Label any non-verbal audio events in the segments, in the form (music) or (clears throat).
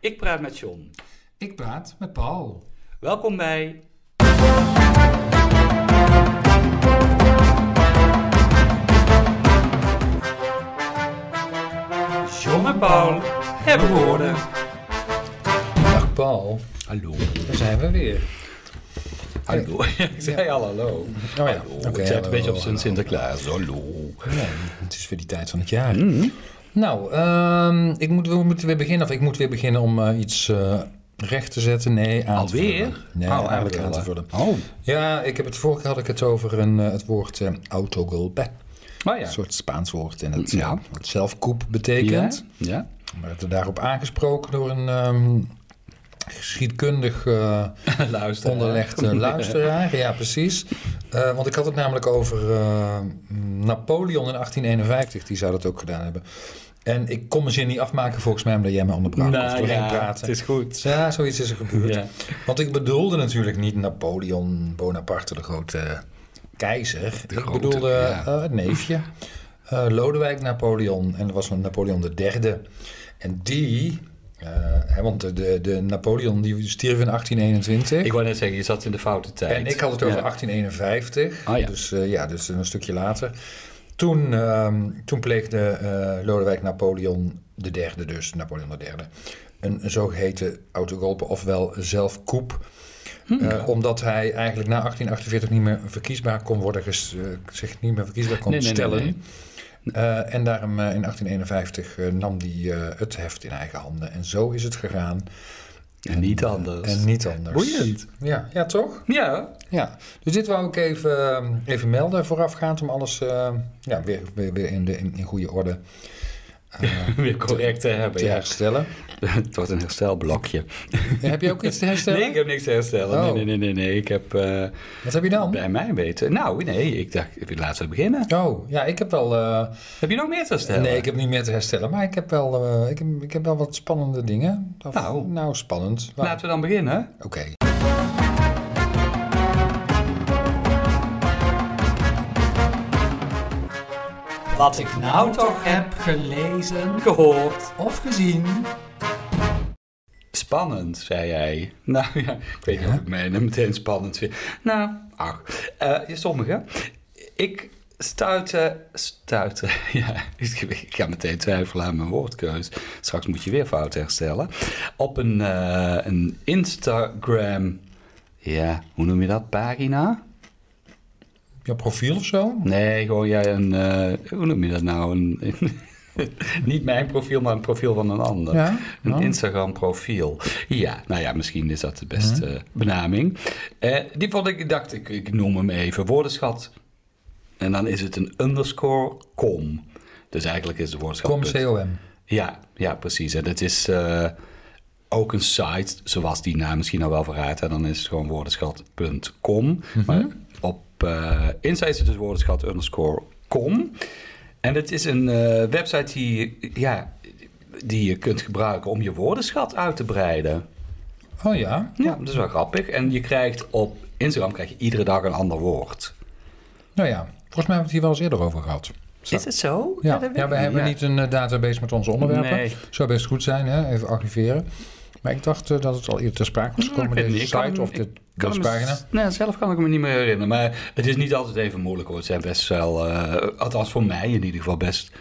Ik praat met John. Ik praat met Paul. Welkom bij. John en Paul hebben woorden. Dag Paul, Hallo. daar zijn we weer. Hallo. (laughs) Ik zei al hallo. Oh ja, oké. ik zei het hallo, een beetje op hallo. zijn Sinterklaas. Hallo. Ja, het is weer die tijd van het jaar. Mm. Nou, ehm, ik moet, we moeten weer beginnen. Of ik moet weer beginnen om eh, iets eh, recht te zetten. Nee, aan te Alweer? vullen. Nee, Oh, eigenlijk wel, aan te hè? vullen. Oh, Ja, ik heb het vorige keer had ik het over een, eh, het woord eh, autogolpe. maar ja. Een soort Spaans woord. En het, Ja. ja. wat zelfkoep Ja? betekent. ja. (laughs) We werden daarop aangesproken door een ehm, geschiedkundig... eh, Luister. onderlegde eh, (laughs) luisteraar. Ja, precies. Eh, want ik had het namelijk over eh, Napoleon in 1851. Die zou dat ook gedaan hebben. En ik kon mijn zin niet afmaken volgens mij omdat jij me onderbrak. of Nou doorheen ja, praten. het is goed. Ja, zoiets is er gebeurd. Ja. Want ik bedoelde natuurlijk niet Napoleon Bonaparte, de grote keizer. ik grote, bedoelde ja. eh, het neefje. Eh, Lodewijk Napoleon. En dat was Napoleon de derde. En die... eh, hè, want de, de, de Napoleon die stierf in 1821. Ik wou net zeggen, je zat in de foute tijd. En ik had het over Ja. 1851, Ah, ja. dus eh, ja, dus een stukje later. Toen, ehm, toen pleegde eh, Lodewijk Napoleon III, dus Napoleon III, een, een zogeheten autogolpe, ofwel zelfkoep. Hmm. Eh, omdat hij eigenlijk na 1848 niet meer verkiesbaar kon worden, ges- eh, zich niet meer verkiesbaar kon Nee, nee, nee, stellen. nee. Eh, en daarom eh, in 1851 eh, nam hij eh, het heft in eigen handen. En zo is het gegaan. En niet anders. En niet anders. Boeiend. Ja, ja toch? Ja. Ja, dus dit wou ik even, eh, even melden voorafgaand om alles eh, ja, weer, weer, weer in, de, in, in goede orde (laughs) Weer correct te hebben. te Ja. herstellen. (laughs) Eh, Het wordt een herstelblokje. heb je ook iets te herstellen? Nee, ik heb niks te herstellen. Nee, Oh. nee, nee, nee. nee. Ik heb eh, Wat heb je dan? bij mij weten. Nou, nee, ik dacht, laten we beginnen. Oh, ja, ik heb wel... eh, Heb je nog meer te herstellen? nee, ik heb niet meer te herstellen, maar ik heb wel, eh, ik heb, ik heb wel wat spannende dingen. Of- Nou. nou, spannend. Maar- Laten we dan beginnen. Oké. Wat ik nou toch heb gelezen, gehoord of gezien. Spannend, zei jij. (laughs) Nou ja, ik weet niet of ik mij nou meteen spannend vind. Nou, ach, eh, sommigen. Ik stuitte, stuitte, (laughs) ja, ik ga meteen twijfelen aan mijn woordkeus. Straks moet je weer fout herstellen. Op een, eh, een Instagram, ja, hoe noem je dat, pagina? Je profiel of zo? Nee, gewoon jij een. eh, hoe noem je dat nou? Een, (laughs) niet mijn profiel, maar een profiel van een ander. Ja, Een nou. Instagram-profiel. Ja, nou ja, misschien is dat de beste benaming. Eh, die vond ik, ik dacht ik, ik noem hem even woordenschat. En dan is het een underscore com. Dus eigenlijk is de woordenschat. Com, punt. COM. Ja, ja, precies. En dat is eh, ook een site, zoals die naam misschien al wel verraadt. En dan is het gewoon woordenschat.com. Maar op eh Insta is het dus woordenschat underscore com. En het is een eh, website die, ja, die je kunt gebruiken om je woordenschat uit te breiden. Oh ja. Ja, dat is wel grappig. En je krijgt op Instagram krijg je iedere dag een ander woord. Nou ja, volgens mij hebben we het hier wel eens eerder over gehad. Is het zo? Ja, dat weet ja ik we hebben Ja. niet een eh, database met onze onderwerpen. Nee. Zou best goed zijn, hè? even archiveren. Maar ik dacht eh, dat het al eerder ter sprake was gekomen, Ik weet deze niet, ik kan site hem- of ik dit, kan deze hem- pagina. Nee, zelf kan ik me niet meer herinneren. Maar het is niet altijd even moeilijk hoor. Het zijn best wel, eh, althans voor mij in ieder geval, best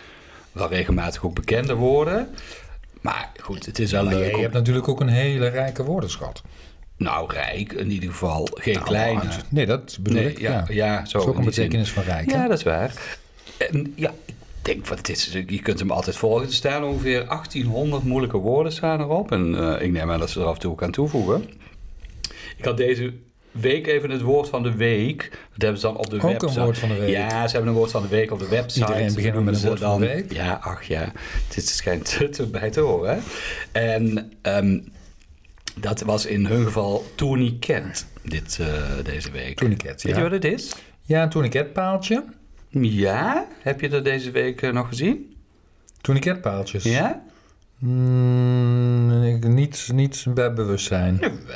wel regelmatig ook bekende woorden. Maar goed, het is wel Maar leuk. je om- hebt natuurlijk ook een hele rijke woordenschat. Nou, rijk in ieder geval. Geen Nou, kleine. uit- Nee, dat bedoel Nee, ik. ja, Ja, ja. Dat zo is ook in een die zin. betekenis van rijk. hè? Ja, dat is waar. En ja, ik denk, wat het is, je kunt hem altijd volgen. Er staan ongeveer 1800 moeilijke woorden staan erop. En eh, ik neem aan dat ze er af en toe ook aan toevoegen. Ik had deze week even het woord van de week. Dat hebben ze dan op de een website. woord van de week. Ja, ze hebben een woord van de week op de website. Iedereen begint met een Ze woord van de dan- week. Ja, ach ja. Dit (laughs) schijnt te- te bij te horen. hè. En ehm, dat was in hun geval tourniquet dit, eh, deze week. Tourniquet, Weet je ja. wat het is? Ja, een tourniquetpaaltje. Ja, heb je dat deze week eh, nog gezien? Tourniquetpaaltjes. Ja? Mm, ik- niet, niet bij bewustzijn. Jawel.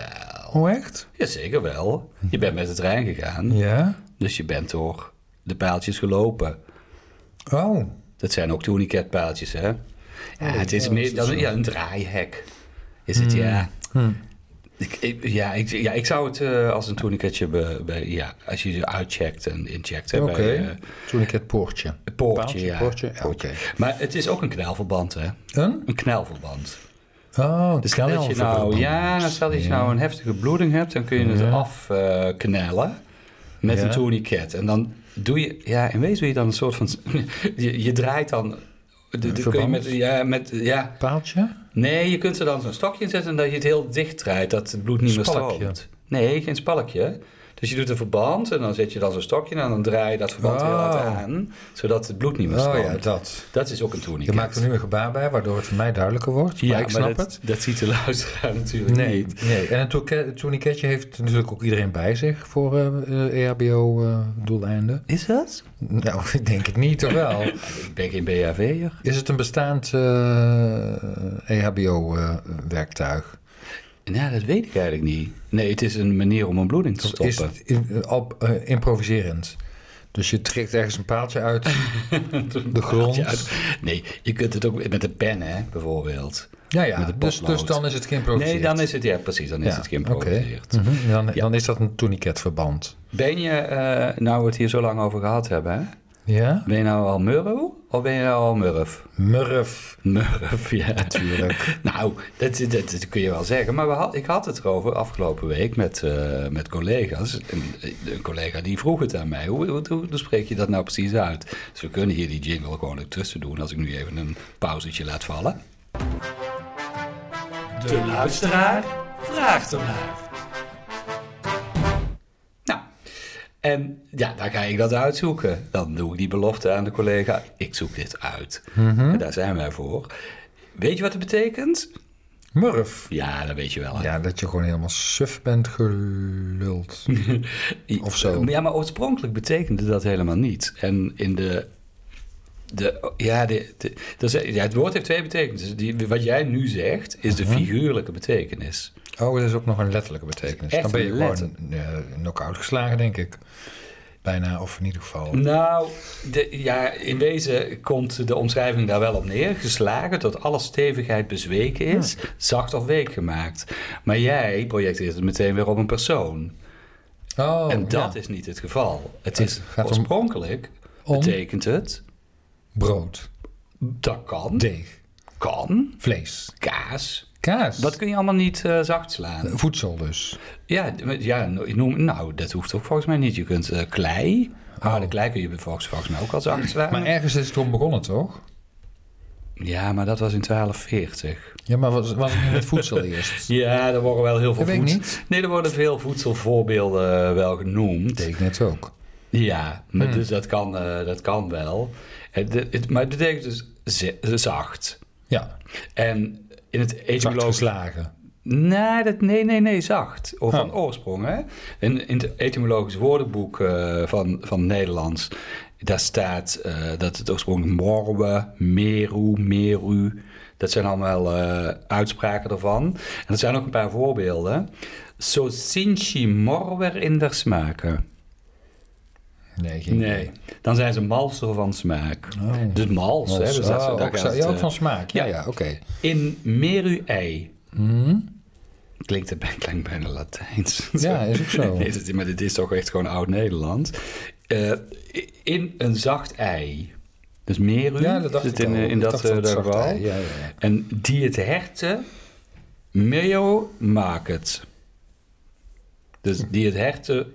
Oh, echt? Jazeker wel. Je bent met de trein gegaan, Ja. dus je bent door de paaltjes gelopen. Oh, Dat zijn ook tourniquetpaaltjes, hè? Ja, het is meer dan ja, een draaihek. is het ja. Hmm. Ik, ik- ja, ik, ja, ik zou het eh, als een tourniquetje, be- be- ja, als je ze uitcheckt en incheckt. hè, Oké, bij, eh, toen ik het poortje. het poortje, Paaltje, ja. poortje, ja, oké. Maar het is ook een knelverband, hè? Een? Een knelverband. Oh, Dus stel dat je nou, ja, nou, stel dat je nou een heftige bloeding hebt, dan kun je het afknellen met Ja. een tourniquet. En dan doe je, ja, in wezen doe je dan een soort van, (laughs) je, je draait dan, de, de- kun je verband? met, ja, met, ja, Paaltje? nee, je kunt er dan zo'n stokje in zetten en dat je het heel dicht draait, dat het bloed niet meer Spalkje. stroomt. Nee, geen spalkje. Dus je doet een verband en dan zet je dan zo'n stokje in en dan draai je dat verband heel hard Oh. aan, zodat het bloed niet meer Oh stroomt. ja, dat. Dat is ook een Je tourniquet. maakt er nu een gebaar bij, waardoor het voor mij duidelijker wordt. Ja, maar ik snap dat, het. Dat ziet de luisteraar (laughs) natuurlijk Nee, niet. nee. En een tourniquet- tourniquetje heeft natuurlijk ook iedereen bij zich voor eh, E EHBO-doeleinden. Is dat? eh, nou, (laughs) ik denk het niet, toch wel? (laughs) Ik ben geen BHV'er. Is het een bestaand eh, EHBO-werktuig? Ja, dat weet ik eigenlijk niet. Nee, het is een manier om een bloeding te stoppen. is het in- al- eh, improviserend? Dus je trekt ergens een paaltje (laughs) uit de grond. Ja, het- nee, je kunt het ook met een pen, hè, bijvoorbeeld. Ja, ja. Met een Dus, potlood. dus dan is het geïmproviseerd. Nee, dan is het, ja precies, dan is Ja, het geïmproviseerd. oké. Mhm. dan, dan is dat een tourniquetverband. Ben je, eh, nou we het hier zo lang over gehad hebben, hè? Ja? Ben je nou al murro of ben je nou al murf? Murf. Murf, ja. Natuurlijk. Nou, dat, dat, dat kun je wel zeggen. Maar we had, ik had het erover afgelopen week met, eh, met collega's. Een, een collega die vroeg het aan mij. Hoe, hoe, hoe, hoe spreek je dat nou precies uit? Dus we kunnen hier die jingle gewoon ertussen doen als ik nu even een pauzetje laat vallen. De luisteraar vraagt ernaar. Nou, en ja, dan ga ik dat uitzoeken. Dan doe ik die belofte aan de collega. Ik zoek dit uit. Mhm. En daar zijn wij voor. Weet je wat het betekent? Murf. Ja, dat weet je wel. hè? (laughs) Ja, dat je gewoon helemaal suf bent geluld. Hm. Of zo. Ja, maar oorspronkelijk betekende dat helemaal niet. En in de. de ja, de, de- er zijn- ja, het woord heeft twee betekenissen. Die, wat jij nu zegt, is Mhm. de figuurlijke betekenis. Oh, dat is ook nog een letterlijke betekenis. Echt dan ben je een gewoon eh knock-out geslagen, denk ik. Bijna, of in ieder geval. Nou, de, ja, in wezen komt de omschrijving daar wel op neer. Geslagen tot alle stevigheid bezweken is, zacht of week gemaakt. Maar jij projecteert het meteen weer op een persoon. Oh, en dat ja. is niet het geval. Het Het is gaat om- oorspronkelijk om- betekent het. Brood, Dat kan. deeg, Kan. vlees, Kaas. kaas. Dat kun je allemaal niet eh, zacht slaan. Voedsel dus. Ja, d- ja, no- ik noem, nou, dat hoeft ook volgens mij niet. Je kunt eh, klei, harde klei kun je volgens, volgens mij ook al zacht slaan. Oh. Maar e- ergens is het om begonnen, toch? ja, maar dat was in 1240. Ja, maar was, was het niet met voedsel (laughs) eerst? Ja, er worden wel heel veel Dat weet ik voedsel- niet. Nee, er worden veel voedselvoorbeelden eh, wel genoemd. deed ik net ook. Ja, maar Hmm. dus dat kan, eh, dat kan wel. Het, het- maar het betekent dus ze- zacht. Ja, En in het zacht etymologisch geslagen. Nee, dat, nee, nee, nee, zacht. Of van Oh. oorsprong, hè? In, in het etymologisch woordenboek eh, van, van Nederlands... daar staat eh, dat het oorspronkelijk morwe, meru, meru... dat zijn allemaal eh, uitspraken daarvan. En er zijn ook een paar voorbeelden. Zo sinchi morwer in der smaken. Nee, geen idee. Nee, dan zijn ze malser van smaak. Oh. Dus mals, hè? Dus dat, Oh, daar ook, gaat zo- het, ja, ook eh, van smaak. Ja, ja. ja, oké. In meru ei. Mhm. Klinkt, het bij- klinkt bijna Latijns. Ja, is ook zo. Nee, (laughs) dit- maar dit is toch echt gewoon oud-Nederland. Eh, in een zacht ei. Dus meru Ja, dat dacht zit ik in, al. in Ik dat, dacht eh, dat dat zacht geval. ei, ja, ja, ja. En die het herten, meo maakt het. Dus die het herten,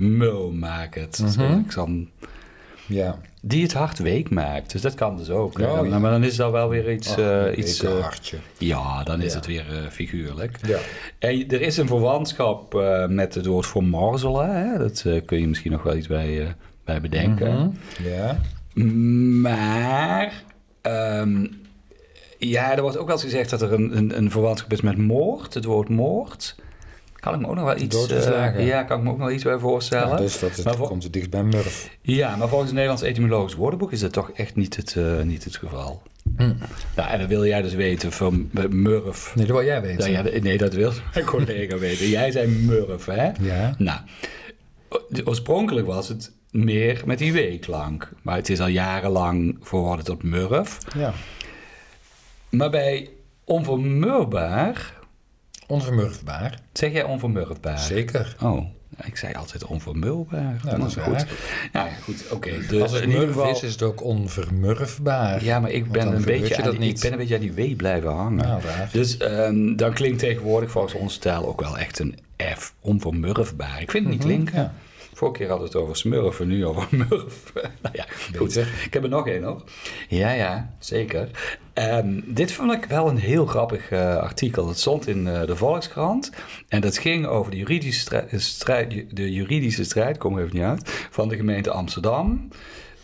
mul maakt het. Zo, Mhm. ik zal- Ja, Die het hart week maakt. Dus dat kan dus ook. hè. Oh, Dan- ja. Maar dan is dat wel weer iets... Ach, eh, een iets beetje eh, hartje. ja, dan is Ja. het weer eh, figuurlijk. Ja. En je- er is een verwantschap eh, met het woord vermorzelen. Hè? Dat eh, kun je misschien nog wel iets bij, eh, bij bedenken. Ja. Mhm. Maar ehm, ja, er wordt ook wel eens gezegd dat er een, een, een verwantschap is met moord. Het woord moord. Kan ik me ook nog wel iets... Doodgeslagen. eh, ja, kan ik me ook nog wel iets bij voorstellen. Ja, dus dat is, maar, vol- komt het dichtst bij Murf. ja, maar volgens het Nederlands etymologisch woordenboek is dat toch echt niet het, eh, niet het geval. Hm. Nou, en dan wil jij dus weten van eh, murf. Nee, dat wil jij weten. Nou ja, nee, dat wil mijn collega weten. Jij zei murf, hè? Ja. Nou, o- oorspronkelijk was het meer met die W-klank. Maar het is al jarenlang verworden tot murf. Ja. Maar bij onvermurbaar Onvermurfbaar. Zeg jij onvermurfbaar? Zeker. Oh, ik zei altijd onvermulbaar. Nou, dat is Maar goed. waar. Nou ja, goed, oké. dus Als het in ieder murf geval... is, is het ook onvermurfbaar. Ja, maar ik Want ben, dan een verbeurt beetje je aan dat die, ik niet. ben een beetje aan die wee blijven hangen. Nou, raar. dus ehm, dan klinkt tegenwoordig volgens onze taal ook wel echt een F, onvermurfbaar. Ik vind het niet klinken. ja. Vorige keer hadden we het over smurf en nu over (laughs) murf. nou ja, goed. Beter. Ik heb er nog één hoor. Ja, ja, zeker. Ehm, dit vond ik wel een heel grappig eh, artikel. Het stond in eh, de Volkskrant. En dat ging over de juridische strijd, strijd, de juridische strijd kom er even niet uit, van de gemeente Amsterdam.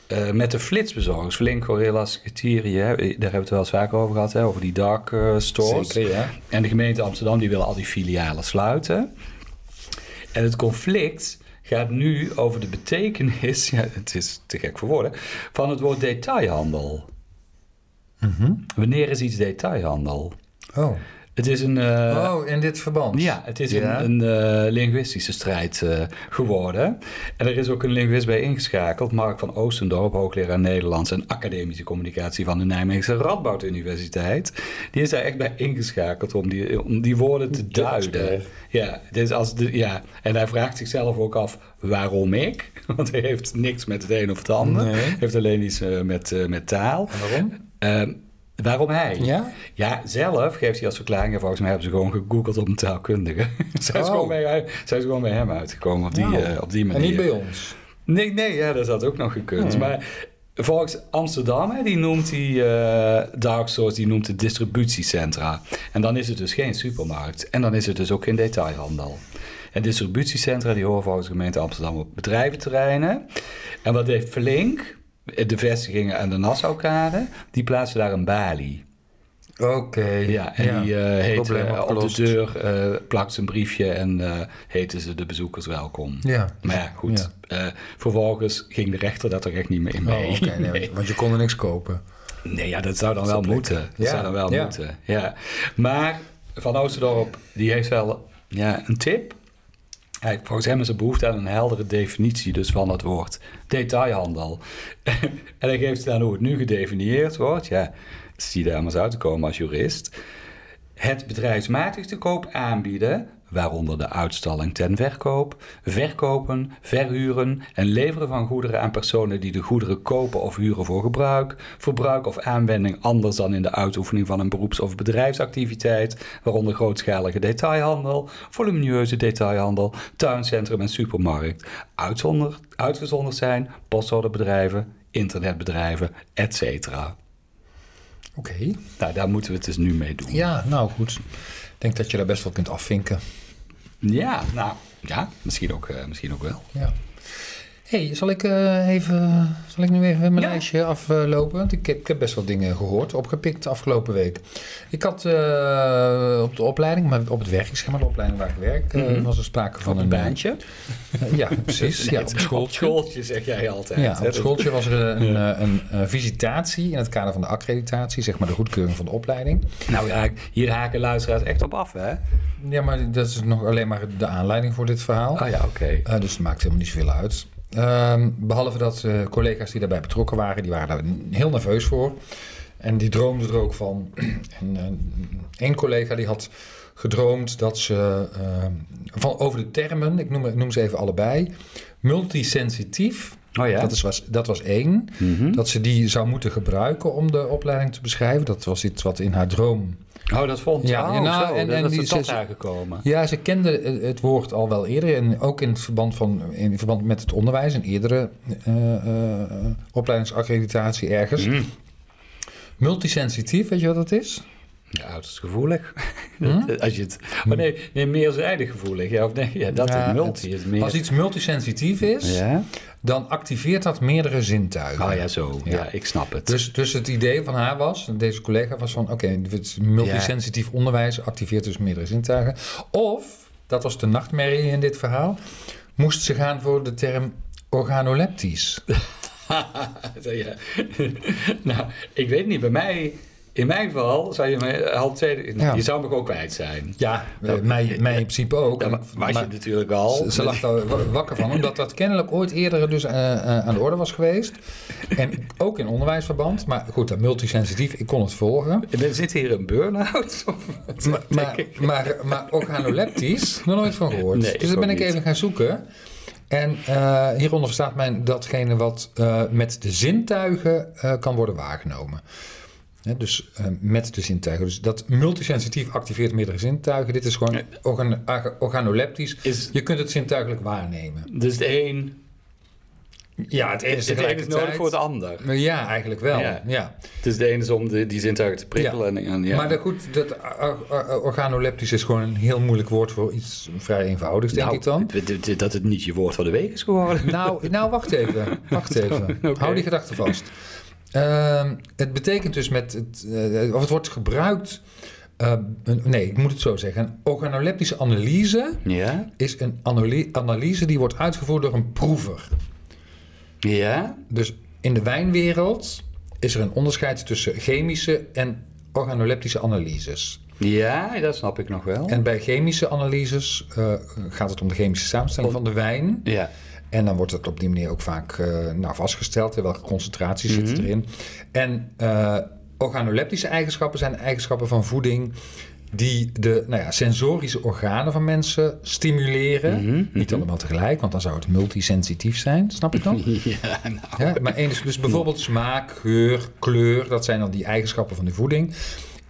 Eh, met de flitsbezorgers, Flink, Gorillas, Ketirië, daar hebben we het wel eens vaker over gehad, hè, over die dark eh, stores. Zeker, ja. En de gemeente Amsterdam die wil al die filialen sluiten. En het conflict gaat nu over de betekenis, (laughs) ja, het is te gek voor woorden, van het woord detailhandel. Wanneer is iets detailhandel? Mhm. Oh. Het is een, eh, oh, in dit verband. ja, het is Ja. een, een eh, linguïstische strijd eh, geworden. En er is ook een linguist bij ingeschakeld, Mark van Oostendorp, hoogleraar Nederlands en academische communicatie van de Nijmeegse Radboud Universiteit. Die is daar echt bij ingeschakeld om die, om die woorden te duiden. expert. Ja, dus als de, ja, en hij vraagt zichzelf ook af waarom ik, (laughs) want hij heeft niks met het een of het ander, Nee. heeft alleen iets eh, met, eh, met taal. En waarom? Ehm, waarom hij? Ja? Ja, zelf geeft hij als verklaring. en Volgens mij hebben ze gewoon gegoogeld op een taalkundige. (laughs) zijn, ze Oh. gewoon bij, hem- zijn ze gewoon bij hem uitgekomen op die, Nou. eh, op die En manier. niet bij ons. Nee, nee, ja, dat had ook nog gekund. Maar volgens Amsterdam, hè, die noemt die eh dark stores, die noemt het distributiecentra. En dan is het dus geen supermarkt. En dan is het dus ook geen detailhandel. En distributiecentra, die horen volgens de gemeente Amsterdam op bedrijventerreinen. En wat heeft Verlink? De vestigingen aan de Nassaukade, die plaatsen daar een balie. Oké. Ja, en die eh, heet Probleem eh, op de opgelost. deur, eh plakt ze een briefje en eh, heten ze de bezoekers welkom. Ja. Maar ja, goed. Eh, vervolgens ging de rechter dat er echt niet meer in mee. Oh, oké, nee, Want je kon er niks kopen. Nee, ja, dat zou dan wel moeten. Dat Ja, zou dan wel ja. moeten, ja. Maar Van Oosterdorp, die heeft wel ja, een tip. Hij, volgens hem is er behoefte aan een heldere definitie dus van het woord detailhandel. (laughs) en hij geeft aan hoe het nu gedefinieerd wordt. Ja, zie daar maar eens uit te komen als jurist. Het bedrijfsmatig te koop aanbieden, waaronder de uitstalling ten verkoop, verkopen, verhuren en leveren van goederen aan personen die de goederen kopen of huren voor gebruik, verbruik of aanwending anders dan in de uitoefening van een beroeps- of bedrijfsactiviteit, waaronder grootschalige detailhandel, volumineuze detailhandel, tuincentrum en supermarkt, uitzonder, uitgezonderd zijn postorderbedrijven, internetbedrijven, etc. Oké. Nou, daar moeten we het dus nu mee doen. Ja, nou goed. Ik denk dat je daar best wel kunt afvinken. Ja, nou ja, misschien ook, eh, misschien ook wel. Ja. hey, zal ik eh, even, zal ik nu even mijn Ja. lijstje aflopen? Want ik heb, ik heb best wel dingen gehoord, opgepikt de afgelopen week. Ik had eh, op de opleiding, maar op het werk, ik zeg maar de opleiding waar ik werk, eh, was er sprake van een eh, ja, (laughs) precies. ja, op school. schooltje zeg jij altijd. Ja, hè? op het schooltje was er een, eh, een, eh, visitatie in het kader van de accreditatie, zeg maar de goedkeuring van de opleiding. Nou ja, hier haken luisteraars echt op af, hè? Oh. Ja, maar dat is nog alleen maar de aanleiding voor dit verhaal. Oh ja, oké. Eh, dus het maakt helemaal niet zoveel uit. Ehm, behalve dat eh, collega's die daarbij betrokken waren, die waren daar n- heel nerveus voor. En die droomden er ook van. (clears throat) En eh, één collega die had gedroomd dat ze ehm, van, over de termen, ik noem, ik noem ze even allebei, multisensitief, Oh ja. Mhm. dat, is, was, dat was één, dat ze die zou moeten gebruiken om de opleiding te beschrijven. Dat was iets wat in haar droom Oh, dat vond Ja, oh, ja, nou, zo, en- dat- en dat die is tot zes- daar gekomen. Ja, ze kende eh, het woord al wel eerder. En ook in het verband, van, in verband met het onderwijs, een eerdere eh, eh, opleidingsaccreditatie ergens. Mm. Multisensitief, weet je wat dat is? Hm? Ja, uiterst gevoelig. (laughs) Dat- Als je het... Maar nee, nee, meerzijdig gevoelig. Ja, of nee, ja, dat Ja, in multi het- is meer... Als iets multisensitief is, Ja? dan activeert dat meerdere zintuigen. Oh ja, zo. Ja, Ja. ik snap het. Dus, dus het idee van haar was, deze collega was van... oké, het is multisensitief onderwijs activeert dus meerdere zintuigen. Of, dat was de nachtmerrie in dit verhaal... moest ze gaan voor de term organoleptisch. (laughs) ja. nou, ik weet niet, bij mij In mijn geval zou je me al tweede... Ja. Je zou me ook kwijt zijn. Ja, eh, mij, mij in principe ook. Daar was je Maar- natuurlijk al. Ze, ze lag daar wa- wakker (laughs) van, omdat dat kennelijk ooit eerder dus eh, eh, aan de orde was geweest. En ook in onderwijsverband. Maar goed, dat multisensitief, ik kon het volgen. Er zit hier een burn-out (laughs) of wat? Maar, maar, maar, maar (laughs) organoleptisch, nog nooit van gehoord. Nee, dus ik dat ben ook ik niet. even gaan zoeken. En eh, hieronder verstaat men datgene wat eh, met de zintuigen eh, kan worden waargenomen. Hè, dus eh, met de zintuigen. Dus dat multisensitief activeert meerdere zintuigen. Dit is gewoon Eh. organ- orga- organoleptisch. Is- Je kunt het zintuigelijk waarnemen. Dus de een... Ja, het ene is Het een is nodig voor het ander. Maar Ja, eigenlijk wel. Ja. Ja. Dus de ene is om de, die zintuigen te prikkelen. En, en- ja. Maar dat, goed, dat or- or- organoleptisch is gewoon een heel moeilijk woord voor iets vrij eenvoudigs, denk Nou, ik dan. d- d- d- Dat het niet je woord van de week is geworden. Nou, nou wacht even. Wacht even. Oké. Hou die gedachte vast. Ehm, het betekent dus met het, eh, of het wordt gebruikt. eh, een- nee, ik moet het zo zeggen. Een organoleptische analyse Ja? is een anole- analyse die wordt uitgevoerd door een proever. Ja? Dus in de wijnwereld is er een onderscheid tussen chemische en organoleptische analyses. Ja, dat snap ik nog wel. En bij chemische analyses eh, gaat het om de chemische samenstelling van de wijn. Ja. (laughs) En dan wordt het op die manier ook vaak eh, nou, vastgesteld. hè, Welke concentraties zitten erin. En eh, organoleptische eigenschappen zijn eigenschappen van voeding. Die de nou ja, sensorische organen van mensen stimuleren. Niet allemaal tegelijk, want dan zou het multisensitief zijn. Snap ik dan? Ja, nou. Ja, maar één is dus bijvoorbeeld smaak, geur, kleur. Dat zijn dan die eigenschappen van de voeding.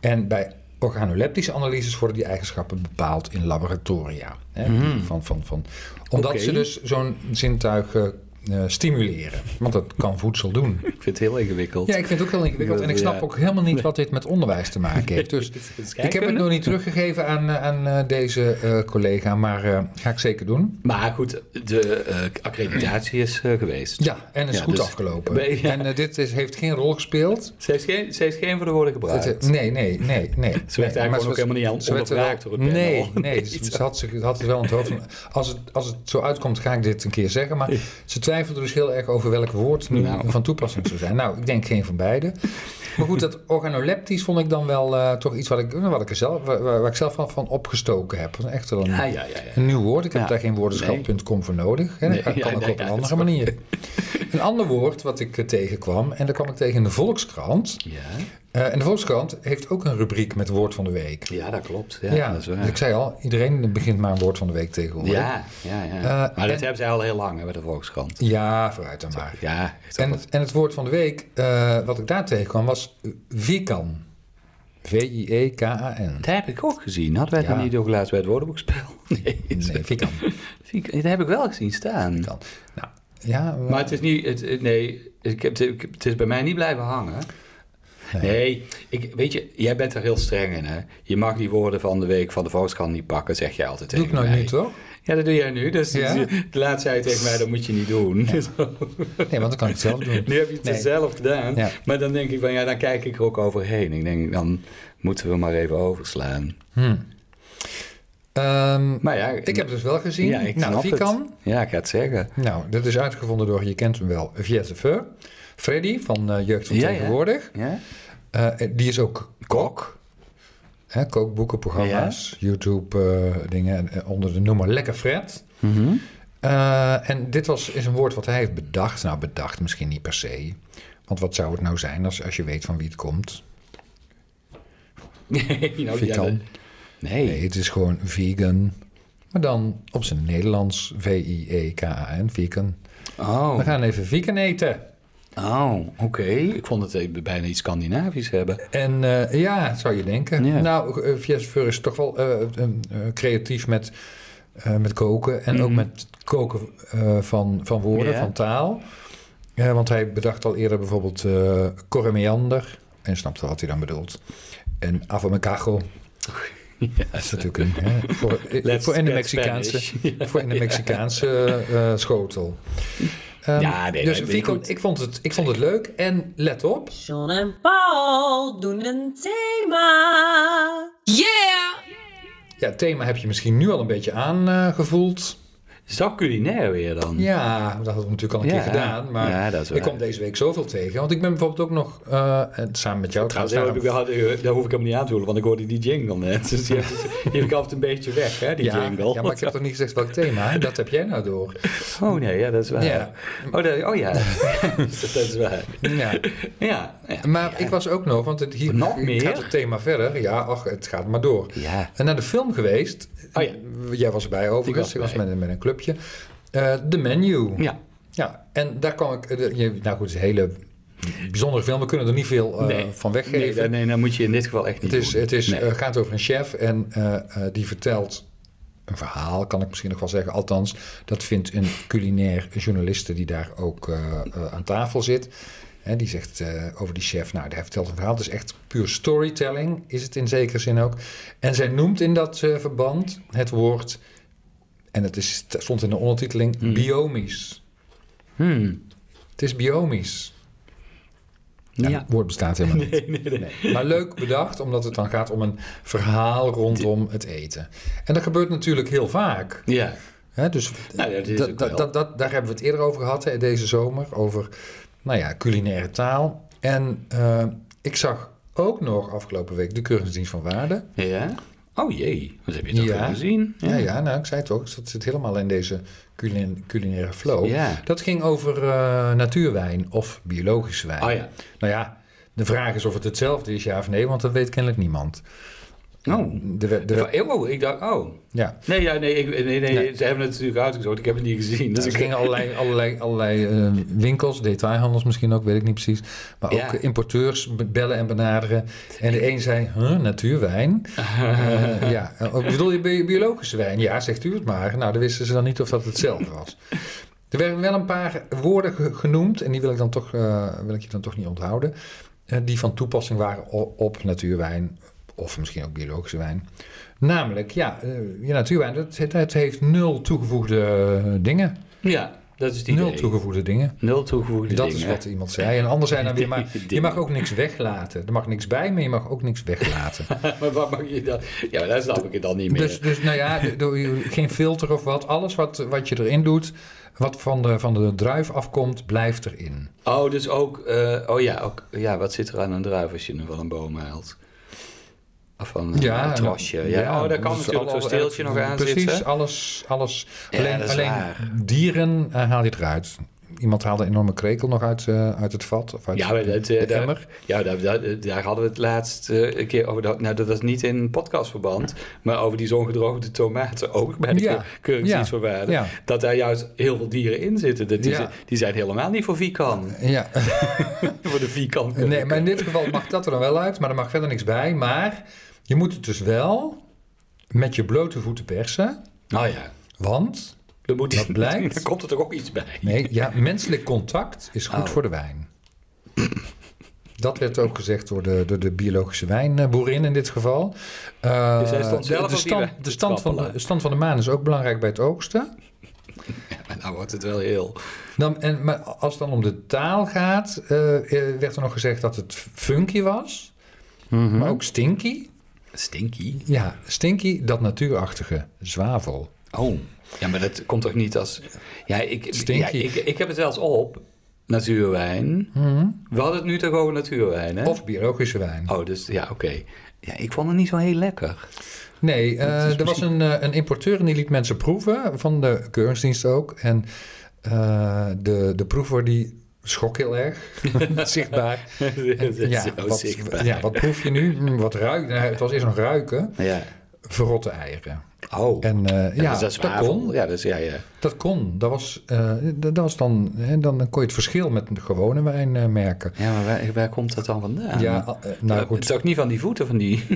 En bij organoleptische analyses worden die eigenschappen bepaald in laboratoria. Hè, van, van, van. Omdat Oké. ze dus zo'n zintuig eh, eh, stimuleren. Want dat kan voedsel doen. Ik vind het heel ingewikkeld. Ja, ik vind het ook heel ingewikkeld. En ik snap Ja. ook helemaal niet wat dit met onderwijs te maken (laughs) heeft. Dus ik heb het nog niet teruggegeven aan, eh, aan eh, deze eh, collega. Maar eh, ga ik zeker doen. Maar goed, de eh, accreditatie is eh, geweest. Ja, en is Ja, goed dus- afgelopen. Nee, (laughs) ja. En eh, dit is, heeft geen rol gespeeld. Ze heeft geen, ze heeft geen voor de woorden gebruikt. Het- eh, nee, nee, nee, nee. Ze werd Nee, eigenlijk maar ook was- helemaal niet aan- ze werd er wel- ondervraagd door het panel. Nee, nee. Nee, (laughs) Ze, ze had, zich- had het wel in het hoofd. van, Als het, als het zo uitkomt, ga ik dit een keer zeggen. Maar ze twijfelde dus heel erg over welk woord nu Nou. van toepassing zou zijn. Nou, ik denk geen van beide. Maar goed, dat organoleptisch vond ik dan wel eh, toch iets wat ik, wat ik er zelf, waar, waar ik zelf van, van opgestoken heb. Dat is Echt wel een, Ja, ja, ja. ja. een nieuw woord. Ik heb Ja. daar geen woordenschap.com voor nodig. Hè. Nee, dat kan ja, ook nee, op een ja, andere dat is manier. Een ander woord wat ik eh, tegenkwam, en dat kwam ik tegen in de Volkskrant. Ja, Eh, en de Volkskrant heeft ook een rubriek met woord van de week. ja, dat klopt. Ja, dat is dus ik waar. zei al, iedereen begint maar een woord van de week tegenwoordig. Ja, ja, ja. Eh, maar dat en- hebben ze al heel lang hè, bij de Volkskrant. Ja, vooruit dan maar. Ja, echt En, wel. het- en het woord van de week, eh, wat ik daar tegenkwam, was eh, Vikan. E V-I-E-K-A-N. dat heb ik ook gezien. Hadden wij het Ja. nog niet doorgelaten bij het woordenboekspel? (laughs) Nee. Nee, Vikan. Vind ik- Dat heb ik wel gezien staan. Vikan. Nou, ja, Maar het is niet, het, het- nee, ik heb, ik heb- het is bij mij niet blijven hangen. Nee, ik, weet je, jij bent er heel streng in, hè? Je mag die woorden van de week van de Volkskrant niet pakken, zeg jij altijd doe ik tegen nou mij. nu toch? Ja, dat doe jij nu. Dus Ja? (laughs) de laatste zei je tegen mij, dat moet je niet doen. Nee, want dan kan ik het zelf doen. (laughs) nu heb je het Nee. zelf gedaan. Ja. Maar dan denk ik van, ja, dan kijk ik er ook overheen. Ik denk, dan moeten we maar even overslaan. Hm. Ehm, Maar ja, ik heb het dus wel gezien. ja, ik nou, snap het. Vikan. Ja, ik ga het zeggen. Nou, dit is uitgevonden door, je kent hem wel, Viette Feu. Freddy van eh, Jeugd van Ja, ja. Tegenwoordig. Ja? Eh, die is ook kok. Hè, eh, kookboeken, programma's, YouTube-dingen onder de noemer Lekker Fred. Eh, en dit was, is een woord wat hij heeft bedacht. Nou, bedacht misschien niet per se. Want wat zou het nou zijn als, als je weet van wie het (laughs) komt? Nee, nou, ja, Vikan. dat- nee. Nee, het is gewoon vegan. Maar dan op zijn Nederlands, E V-I-E-K-A-N, vegan. Oh. We gaan even vegan eten. Oh, oké. Ik vond het even bijna iets Scandinavisch hebben. En eh, ja, zou je denken. Ja. Nou, eh, Vies Veur is toch wel eh, eh, eh, creatief met, eh, met koken. En ook met het koken eh, van, van woorden, Mhm. Ja. van taal. Eh, want hij bedacht al eerder bijvoorbeeld eh corremeander. En snapte wat hij dan bedoelt. En avomecagel. (laughs) Dat is natuurlijk een... Hè, voor, eh, Let's voor in de get Mexicaanse, Spanish. (laughs) voor in de Mexicaanse eh, schotel. Ehm, Ja, nee, dus nee, Vico, goed. ik, vond het, ik vond het leuk. En let op. Sean en Paul doen een thema. Yeah! Ja, het thema heb je misschien nu al een beetje aangevoeld. Zo culinair weer dan. Ja, dat hadden we natuurlijk al een Hm. Ja, keer gedaan. Maar ja, dat is ik waar. kom deze week zoveel tegen. Want ik ben bijvoorbeeld ook nog, eh, en samen met jou Trouwens, daar- daar, heb ik wel- eh, daar hoef ik helemaal niet aan te voelen, want ik hoorde die jingle net. (laughs) Dus die, heeft- die heb ik altijd een beetje weg, hè, die ja, jingle. ja, maar ik heb toch niet gezegd welk thema? Dat heb jij nou (laughs) door. Oh nee, ja, dat is waar. Ja. Oh, dat, oh (laughs) ja, (laughs) dat is waar. Ja. Ja, ja. Maar ik was ook nog, want het, hier Nog gaat meer? het thema verder. Ja, ach, het gaat maar door. Ja. En naar de film geweest. Oh ja. Jij was erbij overigens. was Ik was erbij. met, met een clubje. Eh The Menu. Ja. Ja, en daar kwam ik... eh, de- je- nou goed, het is een hele bijzondere film. We kunnen er niet veel eh, Nee. van Nee, weggeven. dat, nee, dat moet je in dit geval echt niet Het, is, doen. het is, Nee. eh, gaat over een chef en eh, eh, die vertelt een verhaal, kan ik misschien nog wel zeggen. Althans, dat vindt een culinair journaliste die daar ook eh, eh, aan tafel zit. En die zegt eh, over die chef, nou, hij vertelt een verhaal. Het is echt puur storytelling, is het in zekere zin ook. En zij noemt in dat eh, verband het woord, en het is, het stond in de ondertiteling, Mm. biomisch. (laughs) Hmm. Het is biomisch. Ja, Ja. Het woord (laughs) bestaat helemaal niet. Maar leuk bedacht, omdat het dan gaat om een verhaal rondom het eten. En dat gebeurt natuurlijk heel vaak. Ja. Hè? Dus Nou, dat is dat- ook dat- wel. dat- dat- daar hebben we het eerder over gehad hè, deze zomer, over nou ja, culinaire taal. En eh, ik zag ook nog afgelopen week de Keuringsdienst van Waarde. Ja? Oh jee, wat heb je toch Ja. gezien? Ja, ja, nou, ik zei het ook, dat zit helemaal in deze culin- culinaire flow. Ja. Dat ging over eh, natuurwijn of biologisch wijn. Oh ja. Nou ja, de vraag is of het hetzelfde is, ja of nee, want dat weet kennelijk niemand. Oh. De, we- de, De- Oh, ik dacht, oh. ja. Nee, ja, nee, ik, nee, nee, Nee. ze hebben het natuurlijk uitgezocht. Ik heb het niet gezien. Dus Dus er ik gingen allerlei, allerlei, allerlei eh, winkels, detailhandels misschien ook, weet ik niet precies. Maar Ja. ook eh, importeurs be- bellen en benaderen. En de een zei, huh, natuurwijn? Eh, ja, Eh, oh, bedoel je bi- biologische wijn? Ja, zegt u het maar. Nou, dan wisten ze dan niet of dat hetzelfde was. Er werden wel een paar woorden ge- genoemd, en die wil ik, dan toch, eh, wil ik je dan toch niet onthouden. eh, die van toepassing waren o- op natuurwijn, of misschien ook biologische wijn. Namelijk, ja, eh, ja natuurwijn, dat, dat heeft nul toegevoegde eh, dingen. Ja, dat is die Nul idee. toegevoegde dingen. Nul toegevoegde dat dingen. is wat iemand zei. En anders zijn dan (laughs) weer maar. Dingen. Je mag ook niks weglaten. Er mag niks bij, maar je mag ook niks (laughs) weglaten. (laughs) maar wat mag je dan? Ja, maar daar snap ik het dan niet meer. dus, dus nou ja, d- door je- geen filter of wat. Alles wat, wat je erin doet, wat van de, van de druif afkomt, blijft erin. Oh, dus ook... eh, oh ja, ook, ja, wat zit er aan een druif als je hem van een boom haalt? Of van een, Ja, een trosje. Ja, oh, daar kan dus natuurlijk alle- zo'n steeltje nog aan precies, zitten. alles. alles. Ja, alleen dat is alleen waar. dieren eh, haal je eruit. Iemand haalde een enorme krekel nog uit, eh, uit het vat. Of uit Ja, maar dat, eh, de daar- emmer. ja daar, daar, daar hadden we het laatst eh, een keer over. Dat, nou, dat was niet in podcastverband, maar over die zongedroogde tomaten. Ook bij de Ja. keur- keuringsdienst Ja. voor waarde. Ja. Dat daar juist heel veel dieren in zitten. Dat die, Ja. zijn- die zijn helemaal niet voor (laughs) vierkant. Ja. voor de vierkant. Nee, maar in dit geval mag dat er dan wel uit, maar er mag verder niks bij. Maar je moet het dus wel met je blote voeten persen, Nou ja, want dan moet Dat (laughs) blijkt. Dan komt er toch ook iets bij. nee, ja, menselijk contact is goed Oh. voor de wijn. Dat werd ook gezegd door de, door de biologische wijnboerin in dit geval. Eh, Dus hij stond zelf op de, die stand, weg dus de, te stand van de, trappelen. stand van de maan is ook belangrijk bij het oogsten. Maar nou wordt het wel heel. Dan, en, maar als het dan om de taal gaat, eh, eh, werd er nog gezegd dat het funky was, Mhm. maar ook stinky. Stinky. Ja, stinky, dat natuurachtige zwavel. Oh, ja, maar dat komt toch niet als... Ja, ik, Stinky. ja, ik, ik heb het zelfs op. Natuurwijn. We hadden het nu toch over natuurwijn, hè? Hmm. Of biologische wijn. Oh, dus ja, oké. Ja, ik vond het niet zo heel (laughs) lekker. Nee, eh, er was een, eh, een importeur en die liet mensen proeven, van de keuringsdienst ook. En eh, de, de proever die schrok heel (laughs) erg, zichtbaar. Dat is zo wat, zichtbaar. ja, wat proef je nu? Hm, wat ruikt? Nou, het was eerst nog ruiken. Ja. Verrotte eieren. Oh. En eh, ja, dus dat, is dat zwavel. kon. Ja, dus ja, ja. Dat kon. Dat was, eh, d- dat was dan, hè, dan kon je het verschil met de gewone wijn eh, merken. Ja, maar waar, waar komt dat dan vandaan? Ja, eh, nou goed. Het is ook niet van die voeten van die (laughs)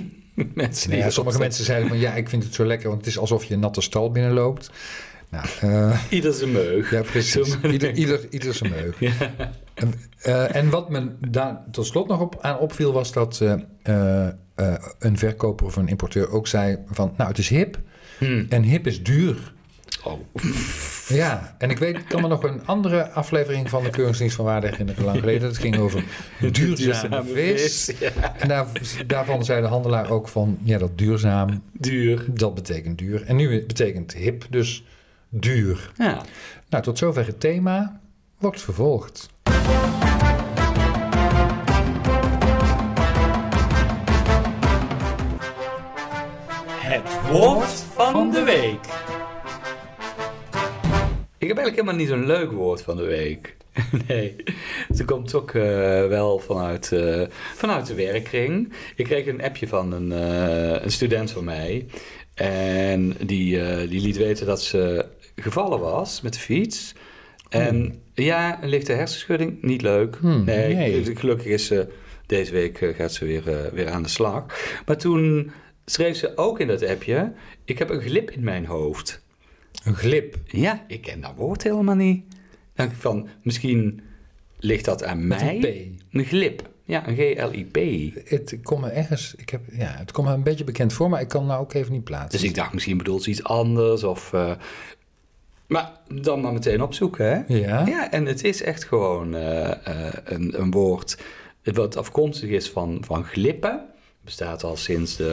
mensen. Nee, die ja, sommige mensen zeiden van ja, ik vind het zo lekker, want het is alsof je een natte stal binnenloopt. Nou, eh, Ieder zijn meug. ja, precies. Zullen we- Ieder, ieder, (laughs) ieder zijn meug. En, eh, en wat me daar tot slot nog op, aan opviel was dat eh, eh, eh, een verkoper of een importeur ook zei van nou, het is hip en hip is duur. Hmm. Oh. Ja, en ik weet, ik kan me nog een andere aflevering van de Keuringsdienst van Waarde herinneren, lang geleden. Dat ging (laughs) over duurzame Duurzame vis. vis, En daar, daarvan zei de handelaar ook van, ja, dat duurzaam, Duur. dat betekent duur. En nu betekent hip, dus duur. Ja. Nou, tot zover het thema. Wordt vervolgd. Het woord van de week. Ik heb eigenlijk helemaal niet zo'n leuk woord van de week. (laughs) Nee, het komt ook eh, wel vanuit, eh, vanuit de werkkring. Ik kreeg een appje van een, eh, een student van mij. En die, eh, die liet weten dat ze gevallen was met de fiets. En ja, een lichte hersenschudding, niet leuk. Oh. Hmm, nee, nee. gel- gelukkig is ze, deze week eh, gaat ze weer, eh, weer aan de slag. Maar toen schreef ze ook in dat appje, ik heb een glip in mijn hoofd. Een glip. Ja, ik ken dat woord helemaal niet. Dan denk ik van, misschien ligt dat aan mij. een Een glip. Ja, een G-L-I-P. Het komt me ergens, ik heb, ja, het komt me een beetje bekend voor, maar ik kan het nou ook even niet plaatsen. Dus ik dacht, misschien bedoelt ze iets anders. Of, eh, Maar dan maar meteen opzoeken, hè? Ja? Ja, en het is echt gewoon eh, eh, een, een woord wat afkomstig is van, van glippen. Bestaat al sinds de,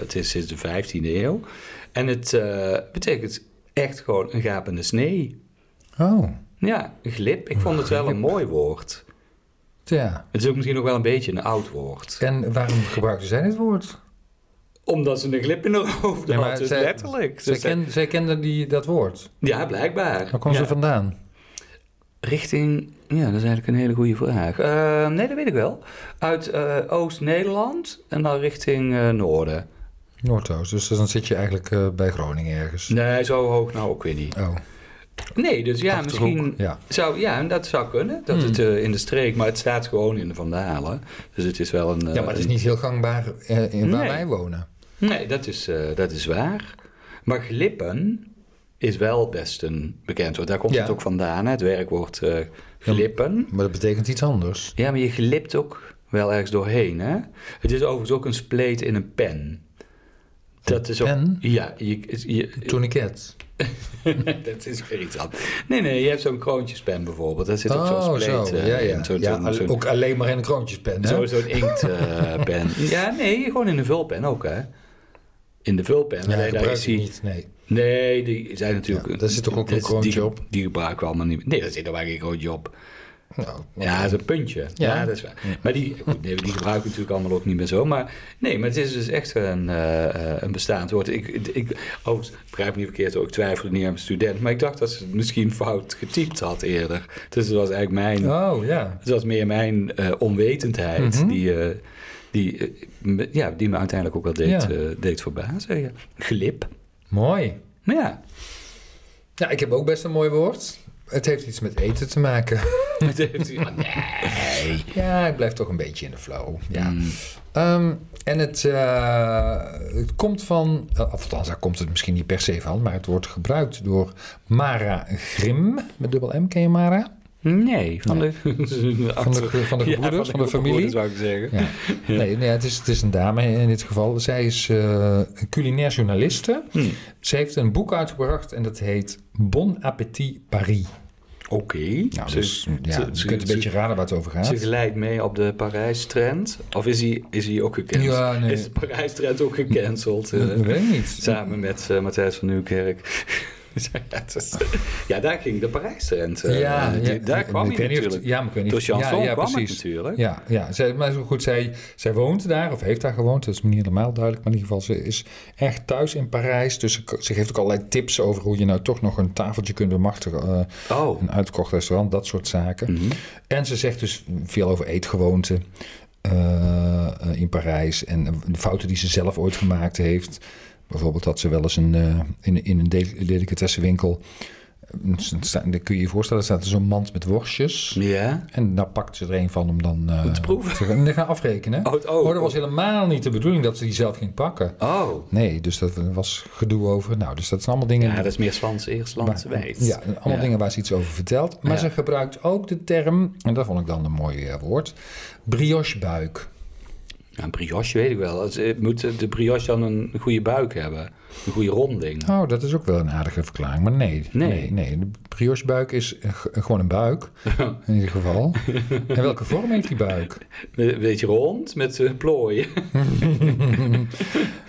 het is sinds de 15e eeuw. En het eh, betekent echt gewoon een gapende snee. Oh, Ja, een glip. Ik vond het wel een mooi woord. ja. Het is ook misschien nog wel een beetje een oud woord. En waarom gebruikten zij dit woord? Omdat ze een glip in de hoofd Nee, maar had, dus zij- letterlijk. Zij, Dus zij- ken, zij kenden die, dat woord. Ja, blijkbaar. Waar kwam Ja. ze vandaan? Richting, ja, dat is eigenlijk een hele goede vraag. Eh, nee, dat weet ik wel. Uit eh, Oost-Nederland en dan richting eh, Noorden. Noordoost, dus dan zit je eigenlijk eh, bij Groningen ergens. Nee, zo hoog nou ook weer niet. Oh, Nee, dus ja, Achterhoek, misschien... ja. Zou, ja, en dat zou kunnen, dat het eh, in de streek... Maar het staat gewoon in de Vandalen. Dus het is wel een... eh, ja, maar het is niet heel gangbaar eh, in waar Nee. wij wonen. Nee, dat is, eh, dat is waar. Maar glippen is wel best een bekend woord. Daar komt Ja. het ook vandaan, hè, het werkwoord eh, glippen. Maar dat betekent iets anders. Ja, maar je glipt ook wel ergens doorheen. Hè? Het is overigens ook een spleet in een pen. Dat is ook. pen? Ja, je, je- (laughs) Tourniquet. dat is weer iets anders. Nee, nee, je hebt zo'n kroontjespen bijvoorbeeld. Daar zit ook zo'n Oh, spleet zo. eh, Ja, ja. in. Zo'n- ja zo'n- al- zo'n- ook alleen maar in een kroontjespen. hè? Zo- Zo'n inktpen. (laughs) ja, nee, gewoon in een vulpen ook, hè? In de vulpen. Ja, Alleen daar gebruik is ik hij- niet, nee. Nee, die zijn natuurlijk... Ja, daar zit toch ook een die- kroontje die- op? Die gebruiken we allemaal niet meer. Nee, daar zit er maar geen kroontje op. Nou, Ja, dat is een puntje. Ja, Ja. dat is waar. Maar die, goed, nee, die gebruiken we natuurlijk allemaal ook niet meer zo. Maar nee, maar het is dus echt een, eh, eh, een bestaand woord. Ik, ik, oh, begrijp me niet verkeerd, ook ik twijfelde niet aan mijn student. Maar ik dacht dat ze het misschien fout getypt had eerder. Dus dat was eigenlijk mijn... Oh, ja. Mhm. Het was meer mijn eh, onwetendheid die, eh, die, eh, me- ja, die me uiteindelijk ook wel deed, Ja. eh, deed verbazen. Ja. Glip. Mooi. Maar ja, Ja, ik heb ook best een mooi woord. Het heeft iets met eten te maken. (laughs) Het heeft- ah, nee. Mm. Ja, ik blijf toch een beetje in de flow. Ja. Ehm, en het, eh, het komt van, eh, of althans daar komt het misschien niet per se van, maar het wordt gebruikt door Mara Grim, met dubbel M, ken je Mara? Nee, van de, (laughs) Van de, van (laughs) de gebroeders, van de, familie. zou ik zeggen. Ja. Nee, nee het, is, het is een dame in dit geval. Zij is eh, een culinair journaliste. Hmm. Ze heeft een boek uitgebracht en dat heet Bon Appétit Paris. Oké. Nou, Ze- dus ja, ze- je ze- kunt een ze- beetje raden waar het over gaat. Ze glijdt mee op de Parijs-trend. Of is die, is die ook gecanceld? Ja, nee. Is de Parijs-trend ook gecanceld? eh, Ik weet niet. samen met eh, Matthijs van Nieuwkerk. ja, dat is- (laughs) ja, daar ging de Parijs-trend. eh, die- daar kwam ik hij weet niet of het- natuurlijk. Ja, maar ik weet niet. Door of- ja, Chanson ja, kwam het precies. natuurlijk. Ja, ja. Zij, maar zo goed, zij, zij woont daar of heeft daar gewoond. Dat is me niet helemaal duidelijk. Maar in ieder geval, ze is echt thuis in Parijs. Dus ze, ze geeft ook allerlei tips over hoe je nou toch nog een tafeltje kunt bemachtigen. eh, Oh, mhm. een uitkocht restaurant, dat soort zaken. Hmm. En ze zegt dus veel over eetgewoonten eh, eh, in Parijs en de fouten die ze zelf ooit gemaakt heeft. Bijvoorbeeld dat ze wel eens een, eh, in, in een del- delicatessenwinkel, eh, sta- daar kun je je voorstellen, er staat er zo'n mand met worstjes. ja. En daar pakt ze er een van om dan... eh, te proeven. te gaan, te gaan afrekenen. Oh, het ook. dat was helemaal niet de bedoeling dat ze die zelf ging pakken. Oh. Nee, dus dat was gedoe over. Nou, dus dat zijn allemaal dingen... Ja, dat is meer Slans eerst, Slans Waar- weet. Ja, allemaal Ja. dingen waar ze iets over vertelt. Maar Ja. ze gebruikt ook de term, en dat vond ik dan een mooi eh, woord, briochebuik. Ja, een brioche weet ik wel. Het- het Moet de brioche dan een goede buik hebben? Een goede ronding? Oh, dat is ook wel een aardige verklaring, maar nee. Nee. nee, nee. De briochebuik is eh, ge- gewoon een (laughs) buik, in ieder geval. en welke vorm heeft die buik? Een beetje rond met eh, plooien.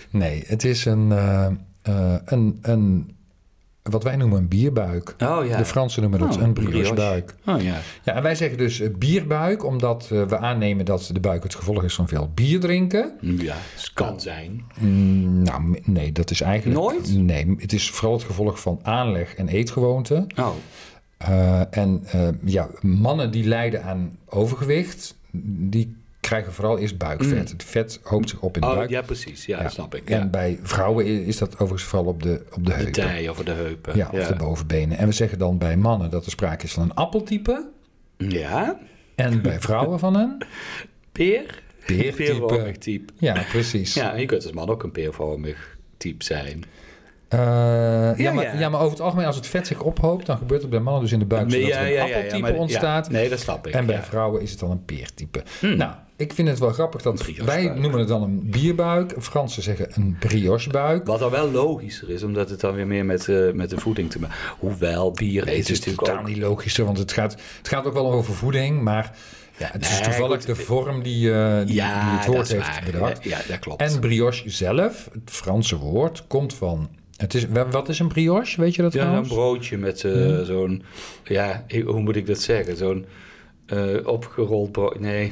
Nee, het is een, eh, eh, een, een wat wij noemen een bierbuik. Oh ja. De Fransen noemen dat Oh, een brioche. briochebuik. Oh ja. Ja, en wij zeggen dus eh, bierbuik, omdat eh, we aannemen dat de buik het gevolg is van veel bier drinken. Ja, het kan. Kan zijn. Mm, nou, m- nee, dat is eigenlijk... Nooit? Nee, het is vooral het gevolg van aanleg en eetgewoonten. Oh, Eh, en eh, ja, mannen die lijden aan overgewicht, die krijgen vooral eerst buikvet. Het vet hoopt zich op in de Oh, buik. ja, precies. Ja, snap ik. En Ja. bij vrouwen i- is dat overigens vooral op de, op de De heupen. tij of de heupen. ja, of de bovenbenen. En we zeggen dan bij mannen dat er sprake is van een appeltype. Mm. ja. En bij vrouwen van een Peer? peertype. Peervormig type. Ja, precies. Ja, je kunt als man ook een peervormig type zijn. Eh, ja, Ja, maar, ja. ja. maar over het algemeen, als het vet zich ophoopt, dan gebeurt het bij mannen dus in de buik, zodat er een appeltype maar- ja. ontstaat. Nee, dat snap ik. En bij ja. Hmm. vrouwen is het dan een peertype. Nou, ik vind het wel grappig dat Een wij briochebuik. noemen het dan een bierbuik. Fransen zeggen een briochebuik. Wat dan wel logischer is, omdat het dan weer meer met, eh, met de voeding te maken Hoewel, bier Het eten is is natuurlijk totaal ook... niet logisch, want het gaat, het gaat ook wel over voeding, maar ja, het is Nee, toevallig goed. de vorm die, eh, die, die Ja, het dat woord is heeft waar. bedacht. Ja, ja, dat klopt. En brioche zelf, het Franse woord, komt van... Het is, wa- wat is een brioche? Weet je dat Ja, een trouwens? broodje met eh, zo'n... Ja, ik- hoe moet ik dat zeggen? Zo'n eh, opgerold brood... Nee,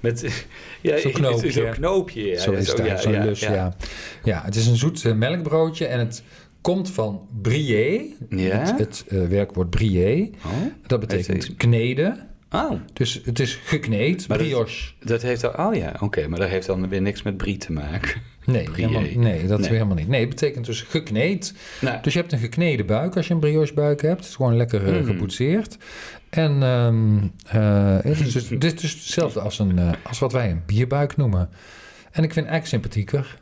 met... (laughs) Ja, Zo'n ik- knoopje. Zo'n knoopje. Ja, zo is het ja, eigenlijk, zo'n ja, lus, ja. ja. het is een zoet eh, melkbroodje en het komt van brier, Ja? het, het eh, werkwoord brier. Oh. Dat Heeft betekent kneden. Oh, Dus het is gekneed, Maar dat- brioche. dat heeft dan... Oh ja, oké. maar dat heeft dan weer niks met brie te maken. Nee, Brier. helemaal, nee, dat Nee. helemaal niet. Nee, het betekent dus gekneed. Nou, Dus je hebt een gekneden buik als je een briochebuik hebt. Het is gewoon lekker Mhm. eh, geboetseerd. En ehm, eh, het is dus, dit is dus hetzelfde als, een, eh, als wat wij een bierbuik noemen. En ik vind het eigenlijk sympathieker.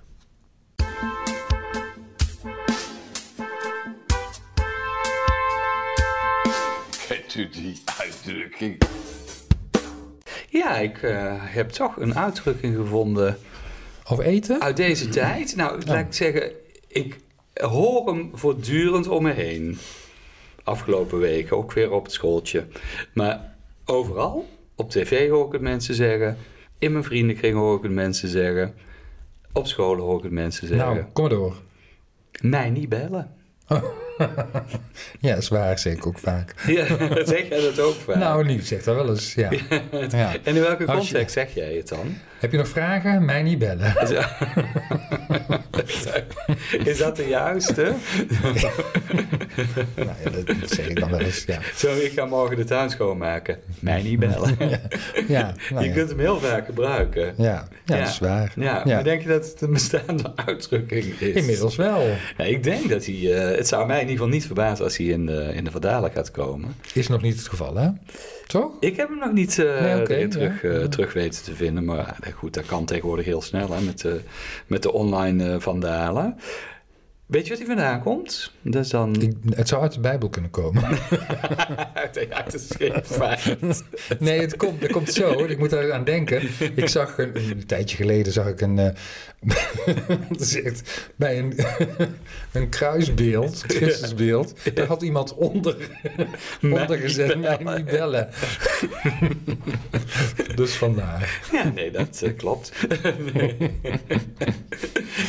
Kent u die uitdrukking? ja, ik eh, heb toch een uitdrukking gevonden... Of eten? Uit deze tijd? Nou, laat ik zeggen, ik hoor hem voortdurend om me heen. Afgelopen weken, ook weer op het schooltje. Maar overal, op tv hoor ik het mensen zeggen. In mijn vriendenkring hoor ik het mensen zeggen. Op school hoor ik het mensen zeggen. Nou, kom maar door. Mij niet bellen. (laughs) Ja, dat is waar, zeker ook vaak. Ja, (laughs) zeg jij dat ook vaak? Nou, Niek zegt dat wel (laughs) eens, ja. ja. en in welke als je- context zeg jij het dan? Heb je nog vragen? Mij niet bellen. (laughs) Is dat de juiste? nou ja, dat zeg ik dan wel eens, ja. Zo, ik ga morgen de tuin schoonmaken. Mij niet bellen. (laughs) Ja, nou Je ja. kunt hem heel vaak gebruiken. Ja, ja, dat is waar. Ja, Ja. maar denk je dat het een bestaande (laughs) uitdrukking is? Inmiddels wel. Ja, ik denk dat hij... eh, het zou mij in ieder geval niet verbazen als hij in de, in de Vandalen gaat komen. Is nog niet het geval, hè? Toch? Ik heb hem nog niet eh, Nee, oké, erin terug, ja. eh, terug weten te vinden. Maar eh, goed, dat kan tegenwoordig heel snel hè, met, de, met de online eh, Vandalen. Weet je wat hij vandaan komt? Dat is dan... Ik, het zou uit de Bijbel kunnen komen. (laughs) uit, de- uit de schrift. maar- Nee, het komt, het komt zo. Ik moet daar aan denken. Ik zag een, een tijdje geleden zag ik een. eh, (laughs) het is echt bij een, (laughs) een kruisbeeld, Christusbeeld. Daar had iemand onder, onder gezet. Mij niet bellen. (laughs) dus vandaar. Ja, nee, dat eh, klopt. (laughs) nee.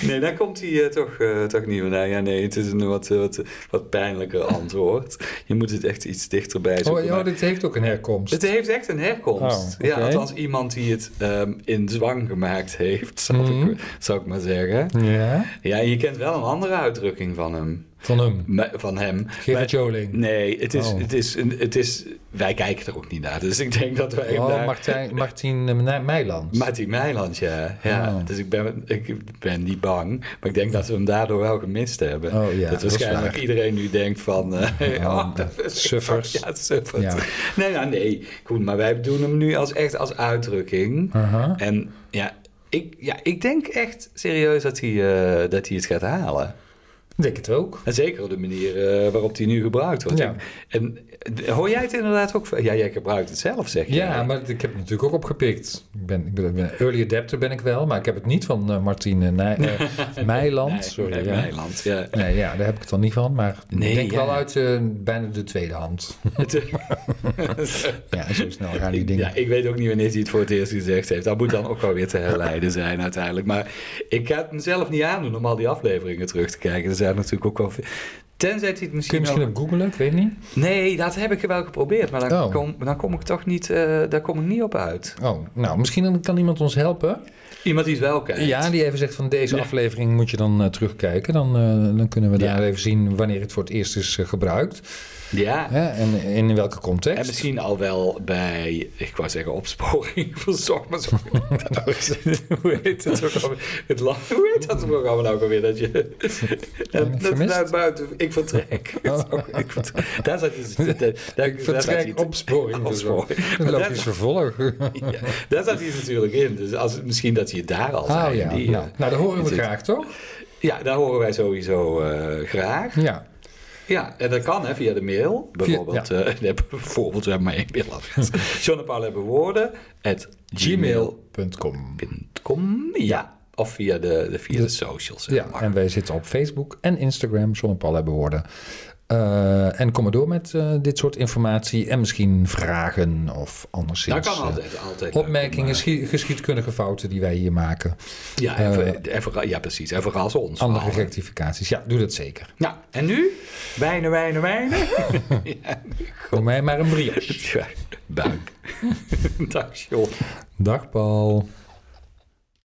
nee, daar komt hij eh, toch, eh, toch niet vandaan. Ja, nee, het is een wat, eh, wat, wat pijnlijker antwoord. Je moet het echt iets dichterbij Oh, zoeken. ja, maar- dit heeft ook een herkomst. Het heeft echt een herkomst. Oh, oké. Ja, althans iemand die het ehm, in zwang gemaakt heeft, zou, Mhm. ik, zou ik maar zeggen. Ja, Ja, en je kent wel een andere uitdrukking van hem. van hem. Me- Van hem. Gerard Joling. Nee, het is, Oh. het, is een, het is... Wij kijken er ook niet naar, dus ik denk dat wij hem Oh, daar- Martijn, Martien eh, Nij- Meiland. Martin Meiland, ja. ja. Oh. Dus ik ben, ik ben niet bang. Maar ik denk dat we hem daardoor wel gemist hebben. Oh, ja, dat dat is waarschijnlijk waar. iedereen nu denkt van... (laughs) eh, Oh, oh, dat eh, is- suffers. Ja, suffers. Ja. Nee, nou, nee. Goed, maar wij doen hem nu als, echt als uitdrukking. Aha. En ja ik, ja, ik denk echt serieus dat hij, eh, dat hij het gaat halen. Ik Denk het ook. En zeker op de manier eh, waarop hij nu gebruikt wordt. Ja. En eh, hoor jij het inderdaad ook? van- Ja, jij gebruikt het zelf, zeg je. Ja, maar ik heb het natuurlijk ook opgepikt. Ik ben, ik ben, ik ben- early adapter ben ik wel, maar ik heb het niet van eh Martien eh, Nij- eh, (laughs) Meiland. Nee, Sorry, nee, ja. Meiland, ja. Nee, ja, daar heb ik het dan niet van, maar Nee, ik denk ja. wel uit eh, bijna de tweede hand. (laughs) ja, zo snel gaan die dingen. (laughs) Ja, ik weet ook niet wanneer hij het voor het eerst gezegd heeft. Dat moet dan ook wel weer te herleiden zijn uiteindelijk. Maar ik ga het mezelf niet aandoen om al die afleveringen terug te kijken. Er zijn natuurlijk ook wel... ve- Tenzij hij het Kun je misschien misschien ook... op googlen? Ik weet niet. Nee, dat heb ik wel geprobeerd, maar dan, Oh. kom, dan kom ik toch niet, eh, daar kom ik niet op uit. Oh, nou, misschien dan kan iemand ons helpen. Iemand die het wel kent. Ja, die even zegt van deze aflevering moet je dan eh, terugkijken. Dan, eh, dan kunnen we daar even zien wanneer het voor het eerst is eh, gebruikt. ja. Hè? En in welke context. En misschien al wel bij, ik wou zeggen opsporing (laughs) van zorg, maar zo. (laughs) hoe heet het ook alweer? Het land, (laughs) hoe heet dat programma nou ook alweer? Dat je en dat Eh, vermist? Oh, naar buiten, ik vertrek. (laughs) ik vertrek. Daar zat (laughs) iets. Daar, daar, daar zat vertrek iets. Opsporing. opsporing. (laughs) opsporing. Maar Een daar- logisch vervolg. (laughs) Ja, daar zat iets natuurlijk in. Dus als, misschien dat je daar al Ah zei, ja, die, nou, eh, nou, dat horen we zit. graag toch? Ja, daar horen wij sowieso eh, graag. Ja. Ja, en dat kan hè, via de mail. Bijvoorbeeld, ja. eh (laughs) nee, bijvoorbeeld we hebben maar één mailadres. (laughs) John en Paul hebben woorden. At gmail.com. Gmail.com. Ja. Of via de, de, via de socials. hè, Ja, maar. en wij zitten op Facebook en Instagram, zonder Paul hebben woorden. Eh, en kom maar door met eh, dit soort informatie en misschien vragen of dat anderszins. kan eh, altijd. altijd leuk Opmerkingen, om, eh, schie- geschiedkundige fouten die wij hier maken. ja, en ver- en verra- ja, precies. En verras ons. eh, Andere vooral. rectificaties. Ja, doe dat zeker. Nou, en nu? Wijnen, wijnen, wijnen. (laughs) Kom mij maar een brief. (laughs) Ja, Buik. Dag, John. Dag Paul.